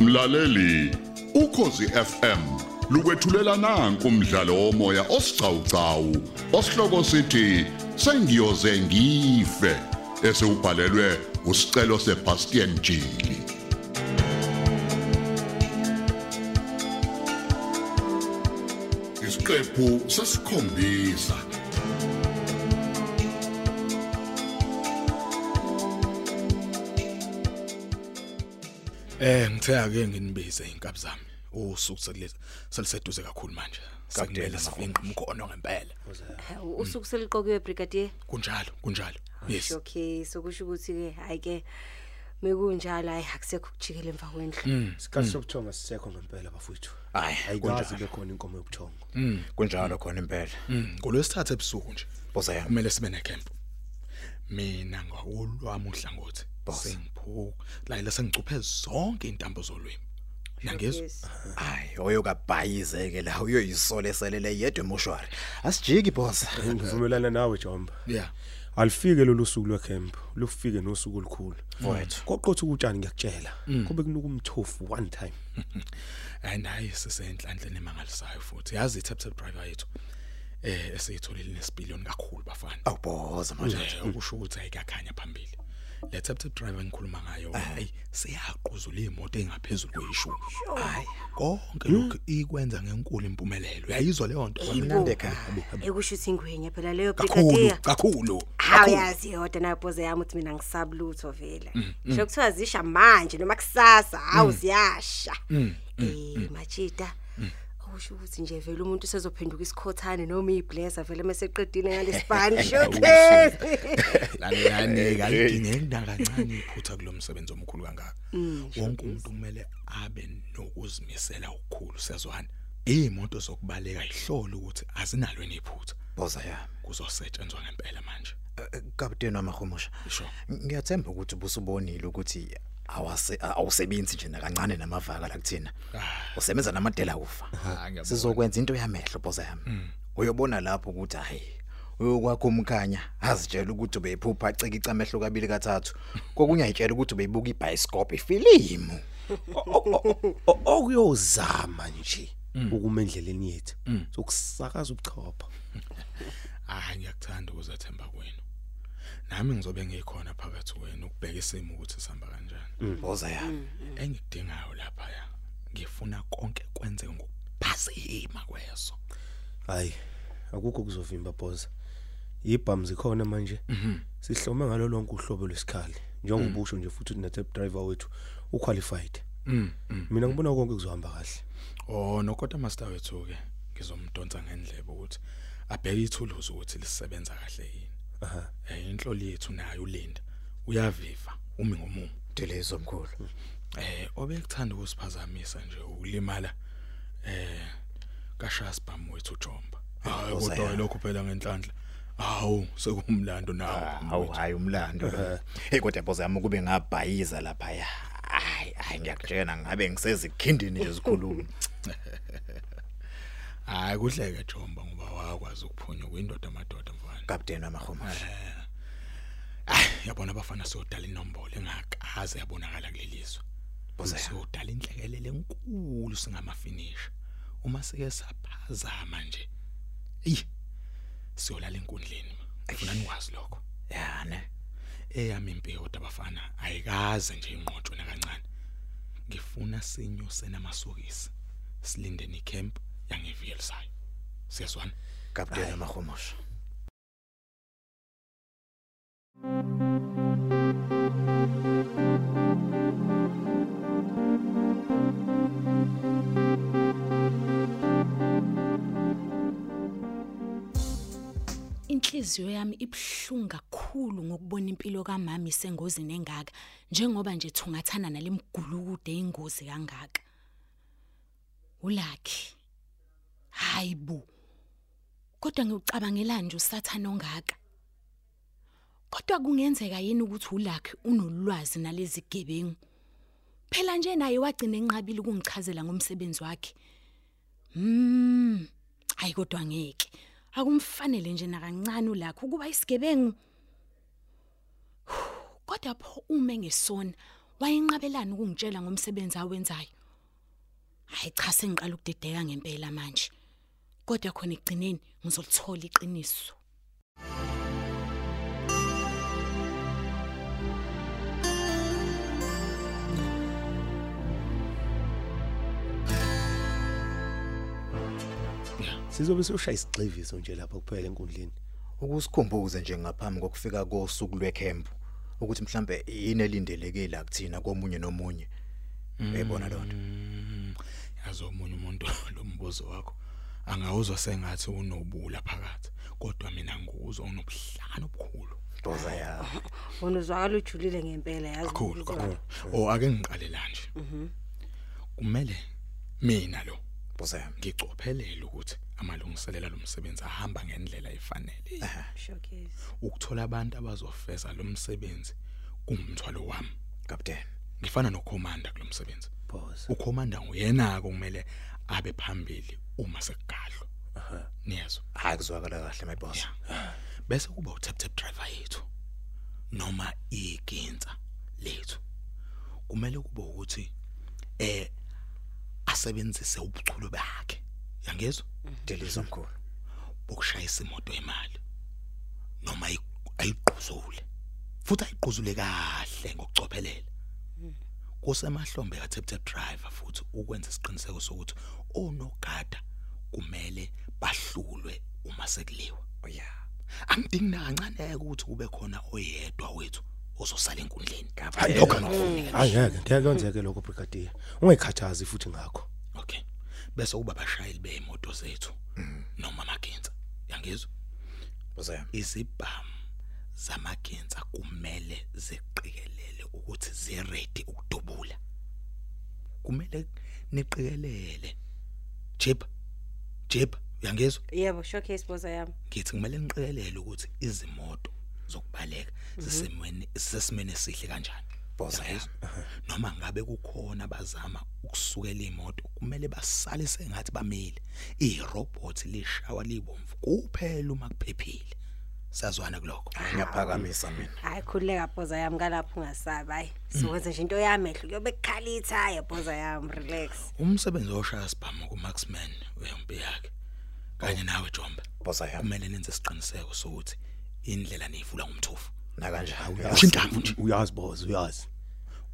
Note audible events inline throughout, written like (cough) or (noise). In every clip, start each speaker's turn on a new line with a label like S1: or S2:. S1: Mlaleli, ukhosi FM lukwethulela nanku umdlalo womoya osiqhawqhawo osihloko sithi sengiyoze ngife esewubhalelwe usicelo seBastian Jili. Isiqephu sesikhombisa
S2: Eh ngitheka ke nginibize inkabi zami. Usuku selise seliseduze kakhulu manje. Sekumele sifinqe umkhono ngempela.
S3: Hawu, Eh, usuku seliqokiwe brigadier
S2: Kunjalo, kunjalo. Yes.
S3: okay sokusho ukuthi ke hayi ke mekunjalo hayi akusekho ukujikela emva
S2: Mm,
S3: kwendlu
S4: Isikhathi sobuthongo sisekho ngempela bafowethu.
S5: Ayi,
S4: ayikwazi kube khona inkomo yobuthongo.
S5: kunjalo khona impela
S2: Mm, Ngolwesithathu ebusuku nje
S5: boza yami
S2: kumele sibe necamp. Mina ngolwami uhlangothi sengiphuka. La ila sengicuphe zonke intambo zolwimi. Nangezwe.
S3: Yes.
S5: hayi oyo kabhayizeke la uyoyisole selele yedwa emoshwari asijiki boza
S4: Ngivumelana nawe Jomba.
S2: Yeah.
S4: Alifike lolu suku lwecamp, lufike nosuku olukhulu.
S2: Oh.
S5: Mfowethu.
S4: Koqotha ukutshani ngiyakutshela. Kube kunuka umthofu one time.
S2: Ayinayi sisenhlanhleni emangalisayo futhi. Yazi iTaptel Driver yethu. Eh esiyitholile nesipiliyoni kakhulu bafana.
S5: awuboza manje
S2: nje ukusho ukuthi ayikakhanya phambili le taxi driver ngikhuluma ngayo hayi seyaquzula imoto engaphezulu kweyishumi hayi konke lokhu ikwenza ngenkulu impumelelo uyayizwa leyo nto
S5: imnandi kabi
S3: Ah, ekusho ukuthi ingwenya phela leyo
S2: kakhulu
S3: brigadier
S2: kakhulu Mm,
S3: Hawazi yodwa nabhoze yami ukuthi mina ngisabulutho vele. Nje kuthiwa zisha manje noma kusasa hawu ziyasha.
S2: Mm,
S3: Eh machita. Usho ukuthi nje vele umuntu usezophenduka isikhothane noma iblazer vele meseqedile
S2: (laughs)
S3: ngalesibhani. Okay.
S2: lanelani kalidingeki nakancane iphutha kulomsebenzi omkhulu kangaka wonke umuntu kumele abe nokuzimisela okukhulu sezwana imoto zokubaleka ihlole ukuthi azinalo niphutha
S5: boza yami
S2: kuzosetshenzwa ngempela manje
S5: Eh, kapteni wamahumusha
S2: Sure.
S5: ngiyathemba ukuthi busubonile ukuthi awase awusebenzi nje nakancane namavaka la kuthina usebenza namadela ufa sizokwenza into yamehlo boza yami uyobona lapho ukuthi hayi uyokwakho umkhanya azitshela ukuthi ubeyiphupha acika icamehlo kabili kathathu kokunye ayitshela ukuthi ubeyibuka ibhayisikophi ifilimu
S4: Okuyozama nje ukuma endleleni yethu. Sokusakaza ubuchopha.
S2: hayi ngiyakuthanda ukuzethemba kwenu nami ngizobe ngikhona phakathi kwenu ukubheka isimo ukuthi sihamba kanjani
S5: boza yami
S2: engikudingayo lapha ya ngifuna konke kwenzeke ngokuphazima kweso
S4: Hayi, akukho kuzovimba boss. Ibham zikhona manje. Sihlome ngalo lonke uhlobo lwesikhali. Njengobusho nje futhi na tape driver wethu uqualified. Mina ngibona konke kuzohamba kahle.
S2: oh nokodwa master wethu ke ngizomdonsa ngendlebe ukuthi abheke ithuluzi ukuthi lisebenza kahle yini
S4: Aha.
S2: eh inhloli yethu nayo ulinda uyaviva umi ngomumo
S5: delezo mkhulu
S2: eh obekuthanda ukusiphazamisa nje ukulimala eh kashasibham wethu Jomba hayi
S5: Eh, Nkosi
S2: kodwa
S5: yami.
S2: lokho phela ngenhlanhla hawu sekumlando
S5: awu
S2: nawo
S5: hayi umlando lo. hey kodwa boza yami kube ngabhayiza lapha ya hayi hayi ngiyakutshela ngabe ngisezikhindini nje zikhuluma
S2: hayi kuhleke Jomba ngoba wakwazi ukuphunya kwindoda madoda mfana
S5: kapteni wamahumusha
S2: yabona abafana sodala inombolo engakaze yabonakala kulelizwe
S5: Boza yami.
S2: sodala inhlekelele enkulu singamafinish uma sike saphazama nje eyi siyolala enkundleni ma. ngifuna nikwazi lokho
S5: ya ne
S2: eyami impiyoda bafana ayikaze nje inqotshwe nakancane ngifuna sinyuse namasokisi silinde ni camp yangevielisayo siyazwana
S5: kapteni wamahumusha
S6: inhliziyo yami ibhlungu kakhulu ngokubona impilo kamama isengozini engaka njengoba nje thungathana nalemgulukude ingozi kangaka ulakhi hayibo kodwa ngiyucabangela nje usathana ongaka kodwa kungenzeka yini ukuthi ulakhi unolwazi nalezi gebengu phela nje naye wagcina enqabile ukungichazela ngomsebenzi wakhe Mm. Hayi kodwa ngeke. Akumfanele nje nakancane ulakho ukuba isigebengu. Kodwa pho ume ngesona wayenqabelana ukungitshela ngomsebenzi awenzayo. Hayi cha sengiqala ukudideka ngempela manje. Kodwa khona ekugcineni ngizolithola iqiniso.
S4: sizobe siyoshaya isigxiviso nje lapha kuphela enkundleni
S5: ukusikhumbuze nje ngaphambi kokufika kosuku lwekhempu ukuthi mhlambe yini elindeleke la kuthina komunye nomunye uyayibona lonto
S2: yazi omunye umuntu (laughs) lo mbuzo wakho angawuzwa sengathi unobula phakathi kodwa mina nguzwa unobuhlana obukhulu
S5: doza ya
S3: wona uzwakala ujulile ngempela yazi
S2: kakhulu
S3: ukuzwa.
S2: kakhulu o Oh, ake ngiqale la nje kumele mina lo
S5: doza ya
S2: ngicophelele ukuthi amalungiselelo lomsebenzi ahamba ngendlela efanele
S3: Showcase.
S2: ukuthola abantu abazofeza lo msebenzi kungumthwalo wami
S5: captain
S2: ngifana nokhomanda kulomsebenzi
S4: pause
S2: ukhomanda uyena ke kumele abe phambili uma sekugadlo niyezwa
S5: hayi kuzwakala kahle my boss
S2: bese kuba utap tap driver yethu noma iginza lethu kumele kube ukuthi eh asebenzise ubuculo bakhe yangezwa
S5: delizwe mkhulu
S2: bokushayisa imoto emali noma ayi- ayiquzule futhi ayiquzule kahle ngokucophelela kusemahlombe ka tap tap driver futhi ukwenza isiqiniseko sokuthi onogada kumele bahlulwe uma sekuliwa oya angidingi nakancane ukuthi kube khona oyedwa wethu ozosala enkundleni ngapha
S4: ayeke ndiyakwenzeke lokho brigadier ungayikhathazi futhi ngakho
S2: Okay. Bese kuba abashayeli beemoto zethu noma amagenza. Yangizwa?
S5: doza
S2: Izibhamu zamagenza kumele ziqikelele ukuthi ziready ukudubula. Kumele niqikelele. Jeb. Jeb, uyangizwa?
S3: Yebo, showcase boza yami.
S2: Ngithi kumele niqikelele ukuthi izimoto zokubaleka sisemweni sisesimene sihle kanjani.
S5: Boza,
S2: Uyangizwa? Noma ngabe kukhona abazama ukusukela imoto kumele basale sengathi bamile. Irobot lishawa libomvu kuphela uma kuphephile. Sazwana kuloko.
S5: ngiyaphakamisa mina
S3: Hayi khuleka boza yami kalapho ungasabi. Hayi, sizokwenza nje into yamehlo. Kuyobe kukhalitha hayi boza yami, relax.
S2: Umsebenzi oshaya sibhamu kuMaxman uyampi yakhe. Kanye nawe Jomba.
S5: boza yami
S2: Kumele nenze isiqiniseko sokuthi indlela niyivula ngumthufu.
S5: na kanjani
S2: Usho intambo nje.
S4: uyazi boss uyazi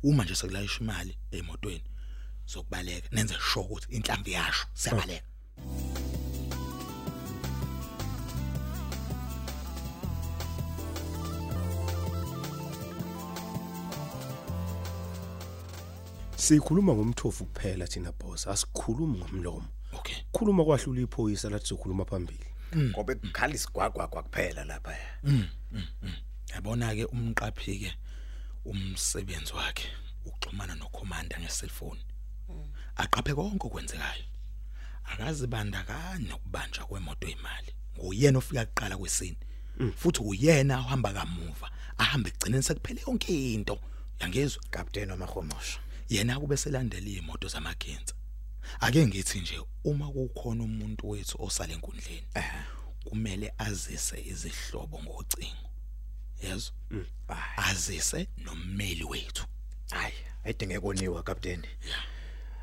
S2: Uma nje sekulayisha imali emotweni sokubaleka nenze sure ukuthi inhlamvu yasho siyabaleka.
S4: sikhuluma ngomthofu kuphela thina boss asikhulumi ngomlomo
S2: Okay.
S4: khuluma kwahlula iphoyisa lathi sizokhuluma phambili
S5: ngoba ekukhala isigwagwa kwakuphela lapha
S2: Yabona ke umqaphi ke umsebenzi wakhe ukuxhumana nokhomanda ngeselfoni. Aqaphe konke okwenzekayo. Akazibandakanye nokubanjwa kwemoto imali. Nguyena ofika kuqala kwesini. Futhi uyena ohamba kamuva, ahamba egcineni sekuphele yonke into. Yangezwa?
S5: captain omahomosha
S2: yena kube selandela imoto zamagenza ake ngithi nje uma kukhona umuntu wethu osale enkundleni kumele azise izihlobo ngocingo yezwa azise nommeli wethu
S5: hayi ayidingeka oniwa captain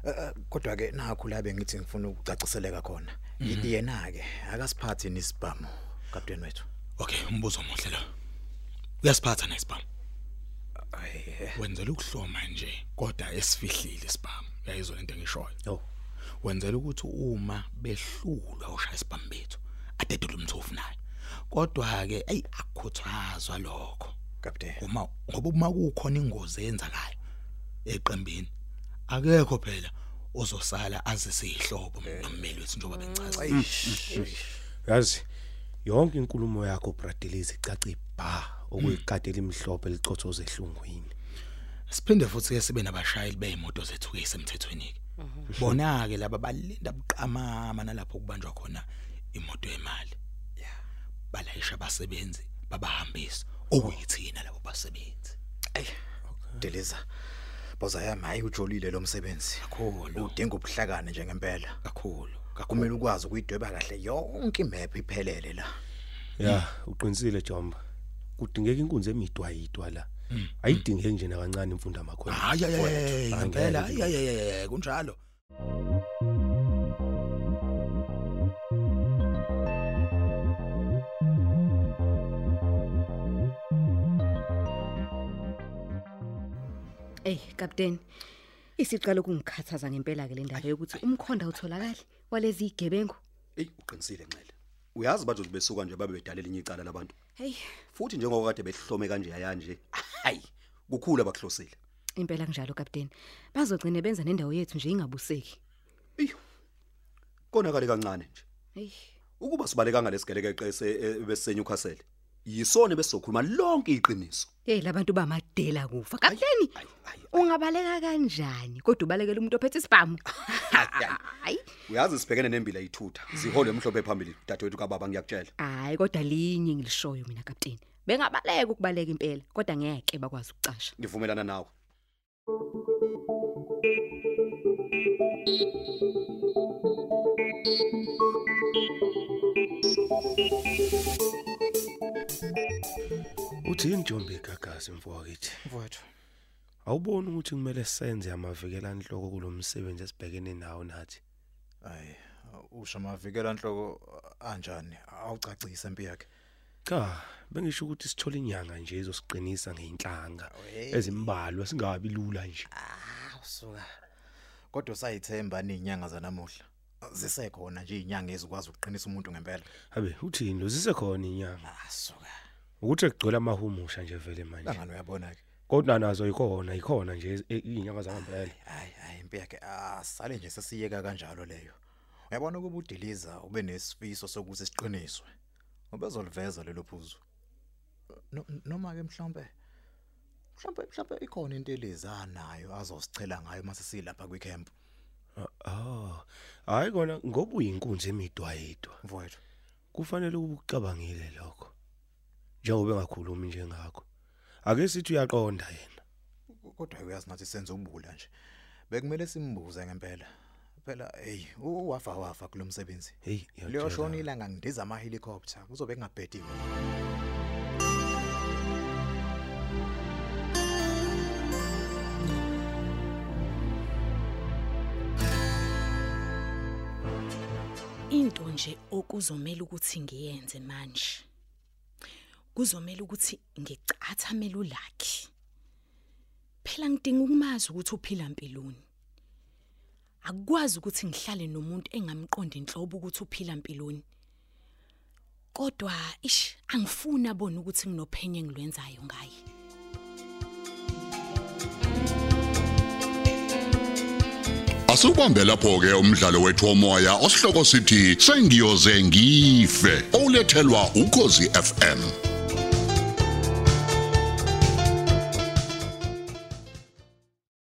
S5: Eh, kodwa ke nakho la bengithi ngifuna ukucaciseleka khona
S2: Mhm.
S5: yena ke akasiphathi nisibhamu captain wethu
S2: okay umbuzo omuhle lo uyasiphatha nesibhamu
S5: hayi
S2: wenzela ukuhloma nje kodwa esifihlile isibhamu yayizwa lento engishoyo
S4: oh
S2: wenzela ukuthi uma behlulwa ushaya isibhamu bethu adedule umthofu naye kodwa ke ayi akukhuthazwa lokho
S5: captain
S2: uma ngoba uma kukhona ingozi eyenzakayo eqembini akekho phela ozosala azise ihlobo nommeli wethu njengoba bengichaza mm,
S4: yazi yonke inkulumo yakho bradelize icace ibha okuyikade elimhlophe licothoza ehlungwini
S2: siphinde futhi ke sibe nabashayeli beemoto zethu ke semthethweni ke bona ke laba balinda buqamama nalapho kubanjwa khona imoto yemali balayisha abasebenzi babahambisa okuyithina labo basebenzi
S5: deliza boza yami hayi ujolile lo msebenzi
S2: Kakhulu.
S5: udinga ubuhlakani njengempela
S2: kakhulu
S5: kumele ukwazi ukuyidweba kahle yonke imap iphelele la
S4: ya uqinisile jomba kudingeka inkunzi emidwa yidwa la ayidingeki nje nakancane imfundo amakhona
S5: Ah,
S2: hayi hayi, hayi
S4: Angeke
S2: ngempela
S4: nje.
S2: hayi hayi, hayi hayi, kunjalo
S7: Ey, kapteni. Isiqala ukungikhathaza ngempela ke le ndaba yokuthi umkhonda utholakala walezi igebengu.
S8: Ey uqinisile Nxele. Uyazi bazothi besuka nje babe bedalela inye icala labantu.
S7: Hey,
S8: Futhi njengoba kade behlome kanje yaya nje. Hayi, kukhulu abakuhlosile.
S7: impela kunjalo kapteni. Bazogcine benza nendawo yethu nje ingabuseki.
S8: Iyo. Konakale kancane nje.
S7: Hey,
S8: Ukuba sibaleka ngalesigeleke eqese besenyukhasele. eh, Yisona besokhuluma lonke iqiniso.
S7: hey labantu bamadela kufa. Kapteni, ungabaleka kanjani? Kodwa ubalekela umuntu ophethe isibhamu. (laughs) Hayi.
S8: Uyazi sibhekene nembila yithutha. Ziholwe emhlophe phambili dadewethu kababa ngiyakutshela.
S7: Hayi, kodwa linye ngilishoyo mina kapteni. Bengabaleka ukubaleka impela, kodwa ngeke bakwazi ukucasha.
S8: Ngivumelana nawe.
S4: uthi injombe igagasi mfowethu
S5: Mfowethu.
S4: awuboni ukuthi kumele senze amavikela inhloko kulomsebenzi esibhekene nawo nathi
S5: Hayi, usha mavikela inhloko anjani? Awucacise impi yakhe.
S4: cha bengisho ukuthi sithole inyanga nje izosiqinisa ngeinhlanga ezimbalwa singabi lula nje
S5: Awusuka. Kodwa usayithemba ninyanga zanamuhla. Zisekhona nje inyanga ezikwazi ukuqinisa umuntu ngempela. Ah,
S4: abe uthini lo zisekhona inyanga
S5: Asuka.
S4: ukuthi egcwele amahumusha nje vele manje
S5: Langani uyabona ke.
S4: kodwa nazo ikhona ikhona nje e- inyanga zangempela
S5: Hayi, hayi impi yakhe asale nje sesiyeka kanjalo leyo. Uyabona ukuba udiliza ube nesifiso sokuthi siqiniswe. Ubezoliveza lelo phuzu. No- Noma ke mhlombe mhlombe mhlombe ikhona into elizanayo azosichela ngayo mase silapha kwicamp.
S4: ah hayi kona ngoba uyinkunzi emidwa yedwa
S5: Mfowethu.
S4: kufanele ukucabangile lokho njengoba engakhulumi nje ngakho ake sithi uyaqonda yena
S5: kodwa uyazi nathi senze ubula nje bekumele simbuze ngempela phela hey u- wafa wafa kulomsebenzi
S4: hey
S5: liyoshona ilanga ngidiza ama helicopter kuzobe kungabhediwe
S6: Into nje okuzomela ukuthi ngiyenze manje. Kuzomela ukuthi ngicathamele ulakhi. Phela ngidinga ukumazi ukuthi uphila impilweni. Akukwazi ukuthi ngihlale nomuntu engamqondi inhlobo ukuthi uphila impilweni. Kodwa ish angifuna bona ukuthi nginophenye ngilwenzayo ngaye.
S1: Asubambe lapho ke umdlalo wethu womoya osihloko sithi sengiyoze ngife olethelwa ukhozi FM